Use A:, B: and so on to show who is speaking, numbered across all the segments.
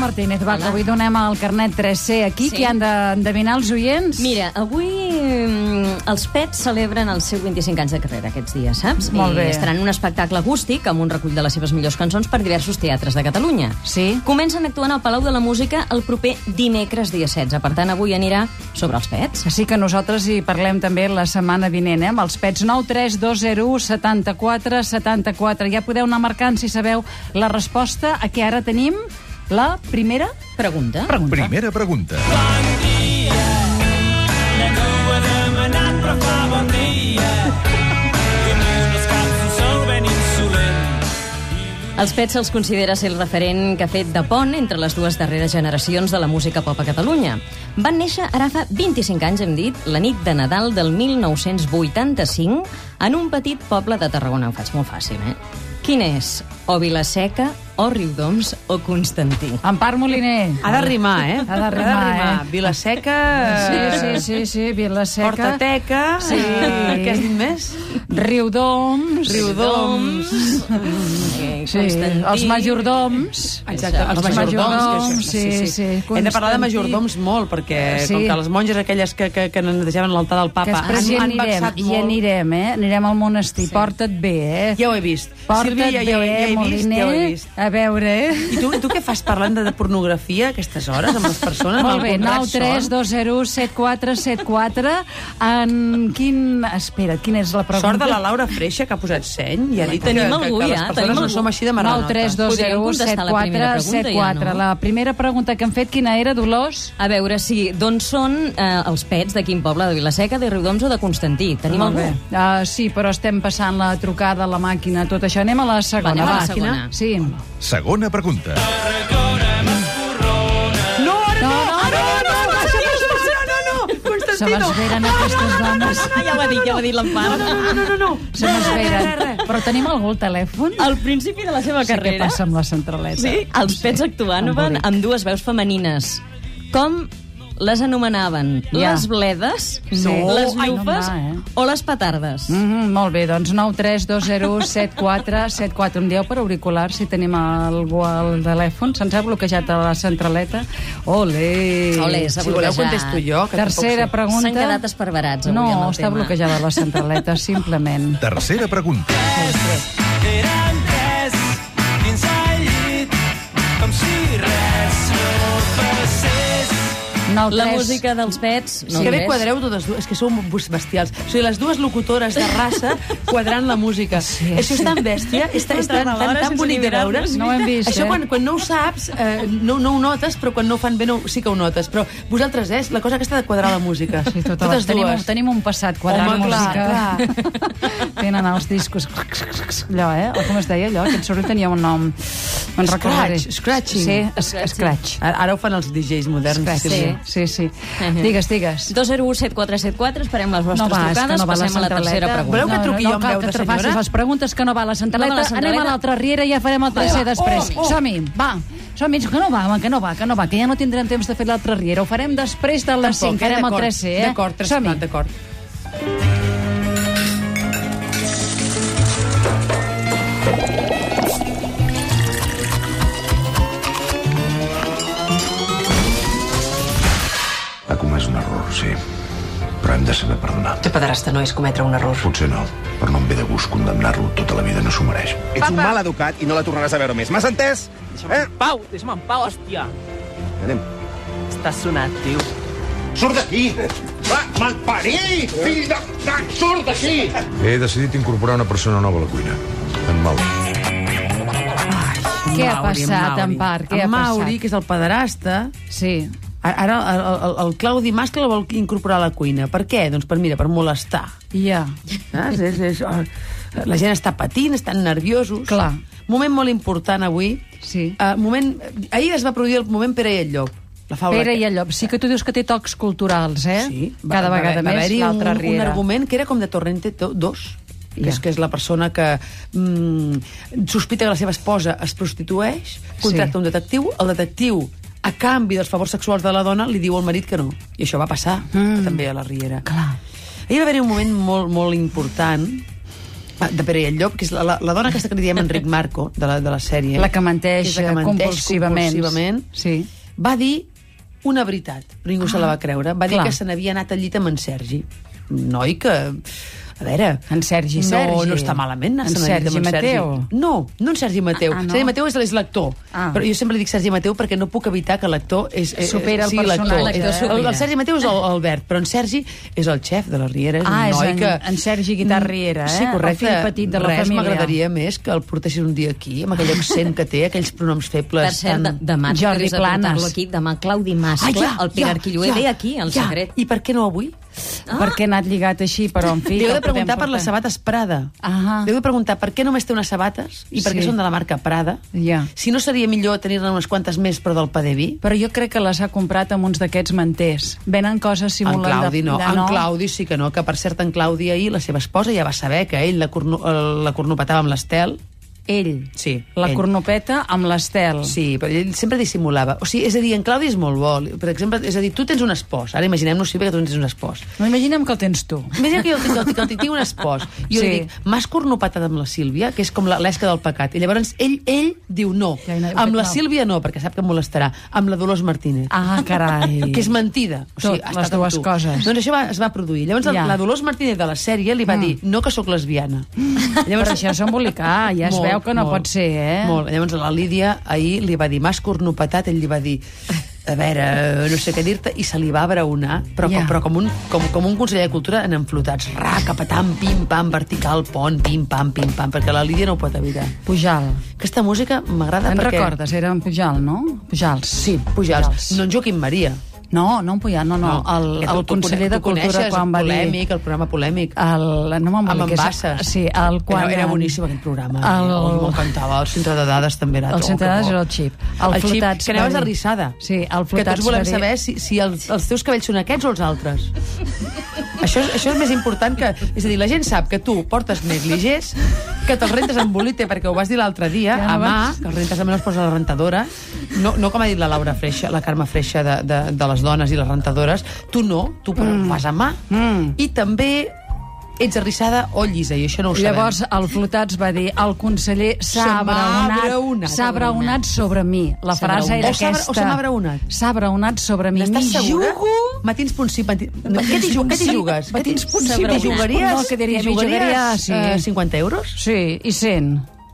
A: Martínez, va, que avui donem el carnet 3C aquí,
B: Sí.
A: que han d'endevinar els oients.
B: Mira, avui mm, els Pets celebren els seus 25 anys de carrera aquests dies, saps?
A: Molt bé.
B: I estaran un espectacle acústic amb un recull de les seves millors cançons per diversos teatres de Catalunya.
A: Sí.
B: Comencen actuant al Palau de la Música el proper dimecres dia 16. Per tant, avui anirà sobre els Pets.
A: Així que nosaltres hi parlem també la setmana vinent, eh? amb els pets 9 3 2 0 1 74 74. Ja podeu anar marcant, si sabeu, la resposta a què ara tenim la primera
B: Pregunta.
A: pregunta.
C: Primera pregunta.
D: Ningú ha demanat, però fa bon dia. Fem unes caps, un sol ben insolent.
B: Els Pets se'ls considera ser el referent que ha fet de pont entre les dues darreres generacions de la música pop a Catalunya. Van néixer ara fa 25 anys, hem dit, la nit de Nadal del 1985, en un petit poble de Tarragona. Ho faig molt fàcil, eh? Quin és? O Vilaseca, o Riudoms, o Constantí?
A: Empar Moliner.
E: Ha de rimar, eh?
A: Ha de rimar, eh?
E: Vilaseca...
A: Sí, sí, sí, sí, Vilaseca.
E: Hortateca...
A: Sí.
E: eh, Què és més?
A: Riudoms.
E: Riudoms...
B: Eh,
A: Sí, els majordoms.
E: Exacte, els,
A: Els majordoms,
E: majordoms. que
A: sí, sí.
E: Hem de parlar
A: Constantí.
E: de majordoms molt, perquè
A: Sí.
E: com que les monges aquelles que, que, que netejaven l'altar del
A: Que
E: papa
A: després hi
E: han, han
A: anirem,
E: vexat
A: hi
E: molt.
A: anirem, eh? Anirem al monestir. Sí. Porta't bé, eh?
E: Ja ho he vist.
A: Porta't
E: Sílvia, ja,
A: bé,
E: ja, ho he- ja, he vist,
A: Moliner.
E: ja ho he vist.
A: A veure, eh?
E: I tu, tu què fas parlant de, de pornografia a aquestes hores amb les persones? amb
A: Molt bé,
E: algun
A: 9
E: raig
A: 3
E: sort?
A: 2 0 7 4 7 4 En quin... Espera, quina és la pregunta?
E: Sort de la Laura Freixa, que ha posat seny, i ha dit
B: Tenim
E: que, que,
B: algú,
E: que les
B: ja,
E: persones
B: tenim
E: no
B: algú.
E: som així de
A: 9
E: maranota.
A: 3 2
B: Podríem
A: 0 7
B: contestar la
A: 4
B: primera
A: 7
B: pregunta,
A: 4
B: ja, no?
A: La primera pregunta que hem fet, quina era, Dolors?
B: A veure, sí, d'on són eh, els pets, de quin poble, de Vilaseca, de Riudoms o de Constantí? Tenim
A: Molt
B: algú?
A: bé. Uh, sí, però estem passant la trucada, la màquina, tot això. Anem a la segona.
B: Anem a la
A: va.
B: segona.
A: Sí.
C: Segona pregunta.
E: No, ara no!
A: No, no,
E: Ara
A: no,
E: no!
A: no,
E: Baixa, baixa, baixa, no, no!
A: Se
E: Constantino!
A: m'esveren aquestes dones.
B: Ah, ja ho ha dit, ja ho ha dit l'Empar.
E: No, no, no, no!
A: Se m'esveren. Però tenim algú al telèfon?
B: Al principi de la seva
A: Sí, què
B: carrera...
A: passa amb la centraleta?
B: Sí, els pets actuaven
A: embolic.
B: amb dues veus femenines. Com les anomenaven?
A: Ja.
B: Les bledes,
A: No.
B: les
A: Ai,
B: llufes
A: no, no, eh?
B: o les petardes?
A: Mm -hmm, molt bé, doncs 9 3 2 0 7 4 7 4 Em dieu per auricular si tenim algú al telèfon? Se'ns ha bloquejat a la centraleta? Ole!
B: Ole, s'ha
E: Si voleu,
B: bloquejat.
E: contesto jo, que
A: Tercera
E: tampoc
A: pregunta.
B: S'han quedat esparverats avui
A: No,
B: amb el
A: està
B: tema.
A: bloquejada la centraleta, simplement.
C: Tercera pregunta.
D: Érem tres, dins el llit, com si res no passés.
A: 9
B: La
A: 3
B: música dels pets...
E: No,
B: No
E: que bé
B: res.
E: quadreu totes dues, és que sou bus- bestials. O sigui, les dues locutores de raça quadrant la música. Sí. Això és tan bèstia, és tan, és tan,
B: Tant
E: tan,
B: alhora
E: tan
B: sense
E: bonic de veure.
B: mirar-nos.
A: No ho hem vist,
E: Això
A: eh?
E: quan, quan no ho saps, eh, no, no ho notes, però quan no ho fan bé no, ho- sí que ho notes. Però vosaltres, eh, és la cosa aquesta de quadrar la música.
A: Sí, tota
E: totes
A: la- tenim,
E: dues.
A: tenim un passat quadrant
E: Home, clar,
A: música. Tenen els discos... Allò, eh? O com es deia allò? Aquest soroll tenia un nom. Me'n
E: Scratch,
A: recordaré.
E: scratching.
A: Sí, es, scratch.
E: Ara, ara ho fan els DJs moderns.
A: Scratch.
E: Sí.
A: Sí, sí. Digues, digues.
B: 2017474, esperem les vostres
A: No va, és que
B: trucades,
A: no va la
B: passem a la
A: centraleta.
B: tercera pregunta.
E: Voleu que
A: no,
E: truqui jo amb
A: cal
E: veu
A: que
E: de
A: te facis
E: senyora?
A: les preguntes que no va a la centraleta.
B: No va a la centraleta.
A: Anem a l'altra riera i ja farem el tercer
B: va.
A: després.
B: Oh, oh.
A: Som-hi, va. Som-hi, que no va, home, que no va, que no va, que ja no tindrem temps de fer l'altra riera. Ho farem després de les 5, farem el
E: D'acord,
A: 3 eh?
E: D'acord, tres
A: Som-hi.
E: plat, d'acord.
F: Ha comès un error, sí. Però hem de saber perdonar.
G: Tu, padrastre, no és cometre un error.
F: Potser no, però no em ve de gust condemnar-lo tota la vida, no s'ho mereix.
H: Ets un mal educat i no la tornaràs a veure més. M'has entès? Eh?
D: Pau, deixa'm en pau, hòstia.
F: Anem.
D: Estàs sonat, tio.
H: Surt d'aquí! Va, malparit! Fill de... de... Surt d'aquí!
F: He decidit incorporar una persona nova a la cuina. En Mau.
A: Què ha
E: Mauri,
A: passat,
E: Mauri.
A: en part? Què
E: en
A: ha
E: Mauri,
A: passat?
E: que és el pederasta,
A: Sí.
E: Ara- Ara el, el, el Claudi Mascle el vol incorporar a la cuina. Per què? Doncs per, mira, per molestar.
A: Ja.
E: Saps? És, és, oh, la gent està patint, estan nerviosos.
A: Clar.
E: Moment molt important avui.
A: Sí.
E: Uh, moment, ahir es va produir el moment Pere i el Llop. La faula
A: Pere i
E: aquest.
A: el llop. Sí que tu dius que té tocs culturals, eh?
E: Sí, va-
A: Cada
E: va-
A: vegada
E: va
A: més
E: haver-hi
A: l'altra
E: un, un
A: riera.
E: argument que era com de Torrente 2, que,
A: Ja.
E: és, que és la persona que mm, sospita que la seva esposa es prostitueix,
A: Sí.
E: contracta un detectiu, el detectiu a canvi dels favors sexuals de la dona li diu al marit que no. I això va passar mm. també a la Riera.
A: Clar.
E: Ahir va haver-hi un moment molt, molt important Ah, de Pere i el Llop, que és la, la, la dona aquesta que li diem Enric Marco, de la, de la sèrie.
A: La que menteix,
E: és la que menteix
A: compulsivament.
E: compulsivament.
A: Sí.
E: Va dir una veritat, però ningú ah, se la va creure. Va dir
A: clar.
E: que se n'havia anat al llit amb en Sergi. Un Noi que... A veure...
A: En Sergi,
E: no,
A: Sergi.
E: No està malament anar
A: En Sergi Mateu.
E: No, no en Sergi Mateu.
A: Ah,
E: Ah,
A: ah, no?
E: no. Sergi Mateu és, és l'actor.
A: Ah.
E: Ah. Però jo sempre li dic Sergi Mateu perquè no puc evitar que l'actor és, eh,
A: Supera el
E: sigui
A: personatge,
E: l'actor.
A: eh?
E: El, el, Sergi Mateu és el- l'Albert, però en Sergi és el xef de la Riera. És
A: Ah, és
E: un noi
A: en-
E: que... Mm,
A: en Sergi Guitart Riera,
E: Sí,
A: eh? El
E: correcte.
A: fill petit de la
E: Res
A: família.
E: m'agradaria més que el portessin un dia aquí, amb aquell accent que té, aquells pronoms febles.
B: Per cert, de,
E: tan-
B: demà
A: Jordi
B: t'hauries
A: Planes.
B: d'apuntar-lo aquí, demà Claudi Mascle, ah, ja, el Pere ja, Arquillué, ve aquí, al ja. secret.
E: I per què no avui?
A: Ah. Perquè ha anat lligat així, però en fi...
E: Li
A: el
E: heu de
A: podem
E: preguntar per
A: portar.
E: les sabates Prada.
A: Ahà.
E: Li heu de preguntar per què només té unes sabates i per què
A: Sí.
E: són de la marca Prada.
A: Ja.
E: Si no seria millor tenir-ne unes quantes més, però del Padeví.
A: Però jo crec que les ha comprat amb uns d'aquests manters. Venen coses
E: En
A: simulant
E: Claudi
A: de,
E: no,
A: de
E: en Claudi sí que no, que per cert en Claudi ahir la seva esposa ja va saber que ell la, cornu, eh, la cornopetava amb l'Estel.
A: Ell.
E: Sí,
A: La
E: ell.
A: cornopeta amb l'estel.
E: Sí, però ell sempre dissimulava. O sigui, és a dir, en Claudi és molt bo. Per exemple, és a dir, tu tens un espòs. Ara imaginem-nos si bé que tu tens un espòs.
A: No imaginem que el tens tu.
E: Més que jo tinc, que tinc, tinc un espòs. I jo
A: Sí.
E: sí. li dic, m'has cornopatat amb la Sílvia, que és com la- l'esca del pecat. I llavors ell ell diu no.
A: Ja, no,
E: Amb la
A: no.
E: Sílvia no, perquè sap que em molestarà. Amb la Dolors Martínez.
A: Ah, carai.
E: Que és mentida. O
A: Tot,
E: ha
A: les
E: estat amb
A: dues
E: tu.
A: coses.
E: Doncs això va, es va produir. Llavors
A: Ja.
E: ja. la Dolors Martínez de la sèrie li va mm. dir, no que sóc lesbiana.
A: Llavors... Però això és embolicar, ja es
E: Molt,
A: veu que no
E: molt,
A: pot ser, eh?
E: Molt. Llavors la Lídia ahir li va dir, m'has cornopetat, ell li va dir, a veure, no sé què dir-te, i se li va abraonar, però,
A: Ja.
E: yeah. com, però com, un, com, com un conseller de cultura en enflotats, ra, capatam, pim-pam, vertical, pont, pim-pam, pim-pam, perquè la Lídia no ho pot evitar.
A: Pujal.
E: Aquesta música m'agrada
A: En
E: Ah, perquè...
A: recordes? Era en Pujal, no? Pujals.
E: Sí, Pujals. No en Joaquim Maria.
A: No, no en Pujal, no, no.
E: No,
A: El,
E: que tu-
A: el
E: tu
A: conseller
E: cone-
A: de
E: tu coneixes
A: Cultura
E: el
A: quan va dir...
E: polèmic, El programa polèmic.
A: El, no me'n
E: amb
A: emboliquis.
E: Embasses.
A: Sí, el quan...
E: Era, era
A: en-
E: boníssim aquell programa.
A: El,
E: El... Oh, M'encantava. El centre de dades també era...
A: El
E: oh,
A: centre
E: que
A: de dades
E: bo.
A: era el xip.
E: El, el xip,
A: flotats
E: que
A: va
E: anaves
A: dir-
E: arrissada.
A: Sí, el
E: Que
A: flotats
E: tots
A: va
E: volem
A: dir-
E: saber si, si els, els teus cabells són aquests o els altres. això, és- això és més important que... És a dir, la gent sap que tu portes negligés, que te'ls rentes amb bolite perquè ho vas dir l'altre dia,
A: Ja no
E: a mà,
A: vaig-
E: que els rentes amb els posa a la rentadora. No, no com ha dit la Laura Freixa, la Carme Freixa de, de, de les dones i les rentadores. Tu no, tu però ho fas a mà.
A: Mm.
E: I també ets arrissada o llisa, i això no ho sabem.
A: Llavors, el Flotats va dir el conseller s'ha
E: Se m'ha
A: abraonat,
E: abraonat.
A: s'ha abraonat sobre mi. La
B: S'ha
A: frase era
E: abraonat. O s'ha abra-
A: aquesta.
E: o se m'ha abraonat?
A: S'ha abraonat sobre mi.
E: N'estàs
A: M'hi
E: segura?
A: jugo
E: Matins punt sí, matins... No, què t'hi ju- què t'hi jugues?
A: Matins punt sí,
E: T'hi
A: matins punt
E: jugaries?
A: no, que diria,
E: t'hi
A: m'hi
E: jugaries,
A: jugaria, sí.
E: eh, 50 euros?
A: Sí, i 100.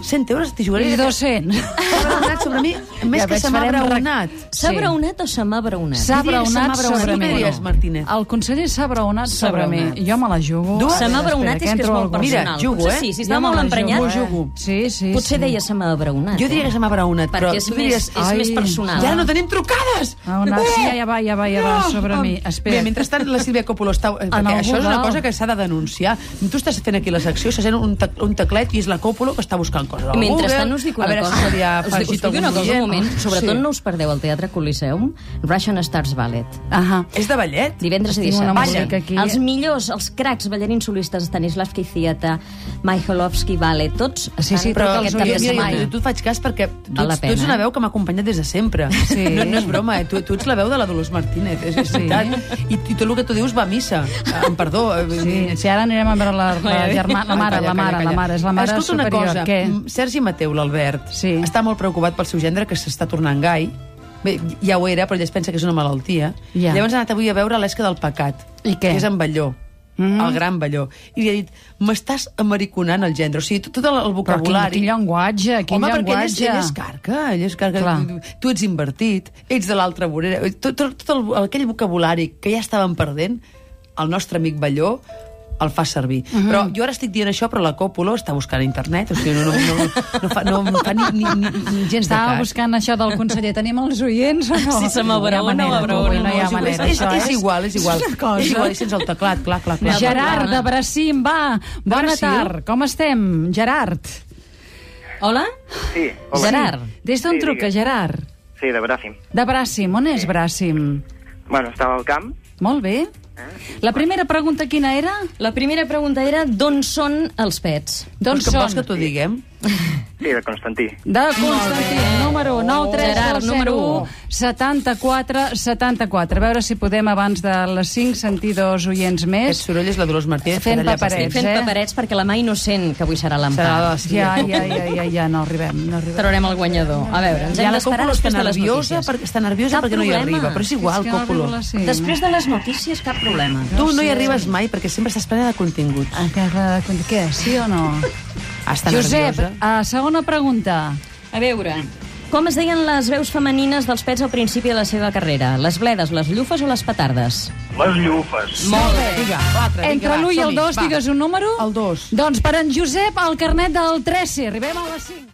E: 100 euros t'hi jugaries?
A: I 200.
E: S'ha abraonat sobre mi, més
A: Ja
E: que
A: veig,
E: se m'ha
A: farem rec-
E: abraonat.
B: S'ha
A: Sí.
B: braonat o se m'ha braonat?
A: S'ha
E: Diries, se m'ha
A: abraonat
E: abraonat.
A: sobre
E: Tu
A: mi.
E: què diries, Martínez?
A: El conseller s'ha abraonat sobre mi.
B: abraonat.
A: Jo me la jugo.
E: Dues?
B: Se m'ha
A: Espera,
B: braonat és que és
A: entro
B: molt
A: algú.
E: Mira,
B: personal.
E: jugo,
B: Potser
E: eh?
B: sí, si
A: Jo
B: estava
A: me
B: molt
A: la
B: emprenyat,
A: jugo,
E: jugo.
A: Sí, sí,
B: potser
A: sí.
B: deia se m'ha abraonat.
E: Jo diria que se m'ha abraonat, però
B: Perquè és,
E: tu
B: més,
E: diries...
B: és més
A: ai,
B: personal. eh?"
E: Ja no tenim trucades!
A: Ah, una- sí, ja va, ja va, ja va, sobre mi. Espera.
E: Mira, mentrestant, la Sílvia Coppola està... eh, Perquè
A: algú
E: això és una
A: va.
E: cosa que s'ha de denunciar. Tu estàs fent aquí la secció, se sent un, tec un teclet i és la Coppola que està buscant coses. al
B: Mentrestant
E: Google,
B: us dic
E: a
B: una
E: veure
B: cosa.
E: Si se li ha
B: us dic, us
E: afegit
B: dic una
E: algun
B: cosa, un
E: oient.
B: moment. Sobretot
E: Sí.
B: no us perdeu al Teatre Coliseum Russian Stars Ballet.
A: Ahà.
E: És de ballet?
B: Divendres i
A: Tinc una
B: dissabte.
A: música aquí.
B: Els millors, els cracs ballarins solistes, Stanislavski Theatre, Majkolovski Ballet, tots
A: Sí, sí,
B: estan
A: però
B: aquest
A: els
B: cap de
A: oients-
B: setmana.
E: Jo, jo, jo et faig cas perquè tu,
B: Val la
E: ets, tu ets
B: pena,
E: una
B: eh?
E: veu que m'ha acompanyat des de sempre.
A: Sí.
E: No, no és broma, eh? tu, tu ets la veu de la Dolors Martínez, és, és
A: Sí.
E: veritat. I, I tot el que tu dius va a missa. Ah, Em perdó. eh, vull
A: Sí,
E: dir-
A: si ara anirem a veure la, la, germana, la mare, la
E: Calla, calla,
A: mare, la
E: calla.
A: mare, és la mare
E: Escolta
A: superior.
E: una cosa,
A: Què?
E: mm, Sergi Mateu, l'Albert,
A: Sí.
E: està molt preocupat pel seu gendre, que s'està tornant gai. Bé, ja ho era, però ell es pensa que és una malaltia.
A: Ja.
E: Llavors ha anat avui a veure l'esca del pecat.
A: I què?
E: Que és en Balló. Mm. el gran Balló. I li ha dit, m'estàs americonant el gendre. O sigui, tot tot el, el
A: Però quin,
E: vocabulari...
A: quin llenguatge, quin
E: Home, perquè ell és,
A: llenguatge.
E: ell és carca, ell és carca.
A: Clar.
E: Tu ets invertit, ets de l'altra vorera. Tot, tot, tot el, aquell vocabulari que ja estàvem perdent, el nostre amic Balló el fa servir. Mm -hmm.
A: Mhm.
E: Però jo ara estic dient això, però la Còpolo està buscant a internet, o sigui, no, no, no, no, fa, no em fa ni, ni, ni, ni gens de
A: Estava
E: cas.
A: buscant això del conseller. Tenim els oients o no?
B: Si se
A: No hi ha
B: m'abraona,
A: manera,
B: m'abraona,
A: avui No hi ha
E: és, igual,
A: manera.
E: és,
A: això eh?
E: és, igual, és igual.
A: una cosa.
E: És igual, i sense el teclat, clar, clar, clar.
A: Gerard de Bracim, va. Bona
E: Bracim?
A: tarda. Com estem, Gerard?
B: Hola?
I: Sí, hola.
B: Gerard.
A: Des d'on
I: Sí,
A: truca,
I: digues.
A: Gerard?
I: Sí, de Bràfim.
A: De Bràcim. On és Bràcim?
I: Bueno, estava al camp.
A: Molt bé. La primera pregunta quina era?
B: La primera pregunta era d'on són els pets?
A: D'on
E: Vols que,
A: Doncs són?
E: vols que t'ho diguem?
I: Sí, de Constantí.
A: De Constantí, número 9, 3,
B: Gerard,
A: 2, 0,
B: número
A: 1,
B: u.
A: 74, 74. A veure si podem, abans de les 5, sentir dos oients
E: Aquest
A: més.
E: soroll és la Dolors Martínez.
A: Fent
E: que talla
A: paperets.
E: pastilles.
B: Fent
A: Eh?
B: paperets perquè la mà innocent, que avui serà
E: Serà
B: l'empar.
E: la- sí.
A: Ja, ja, ja, ja, ja, no arribem, no arribem.
B: Traurem el guanyador. A veure, ens
E: Ja
B: hem
E: la
B: d'esperar
E: Còpolo està
B: després de les
E: nerviosa,
B: notícies.
E: perquè, està nerviosa
B: Cap
E: perquè no hi
B: problema.
E: arriba, però és igual,
A: que
E: és
A: no
E: Còpolo.
A: arribo a les cinc.
B: Després de les notícies, cap problema.
E: Tu no hi arribes mai perquè sempre estàs plena de continguts.
A: Ah, que- que- Què, sí o no?
E: Està
A: Josep,
E: nerviosa.
A: a segona pregunta.
B: A veure... Com es deien les veus femenines dels pets al principi de la seva carrera? Les bledes, les llufes o les petardes?
H: Les llufes.
E: Molt bé. Vinga, l'altre.
A: Entre l'1 i el 2, digues un número.
E: El dos.
A: Doncs per en Josep, el carnet del 13. Arribem a les 5.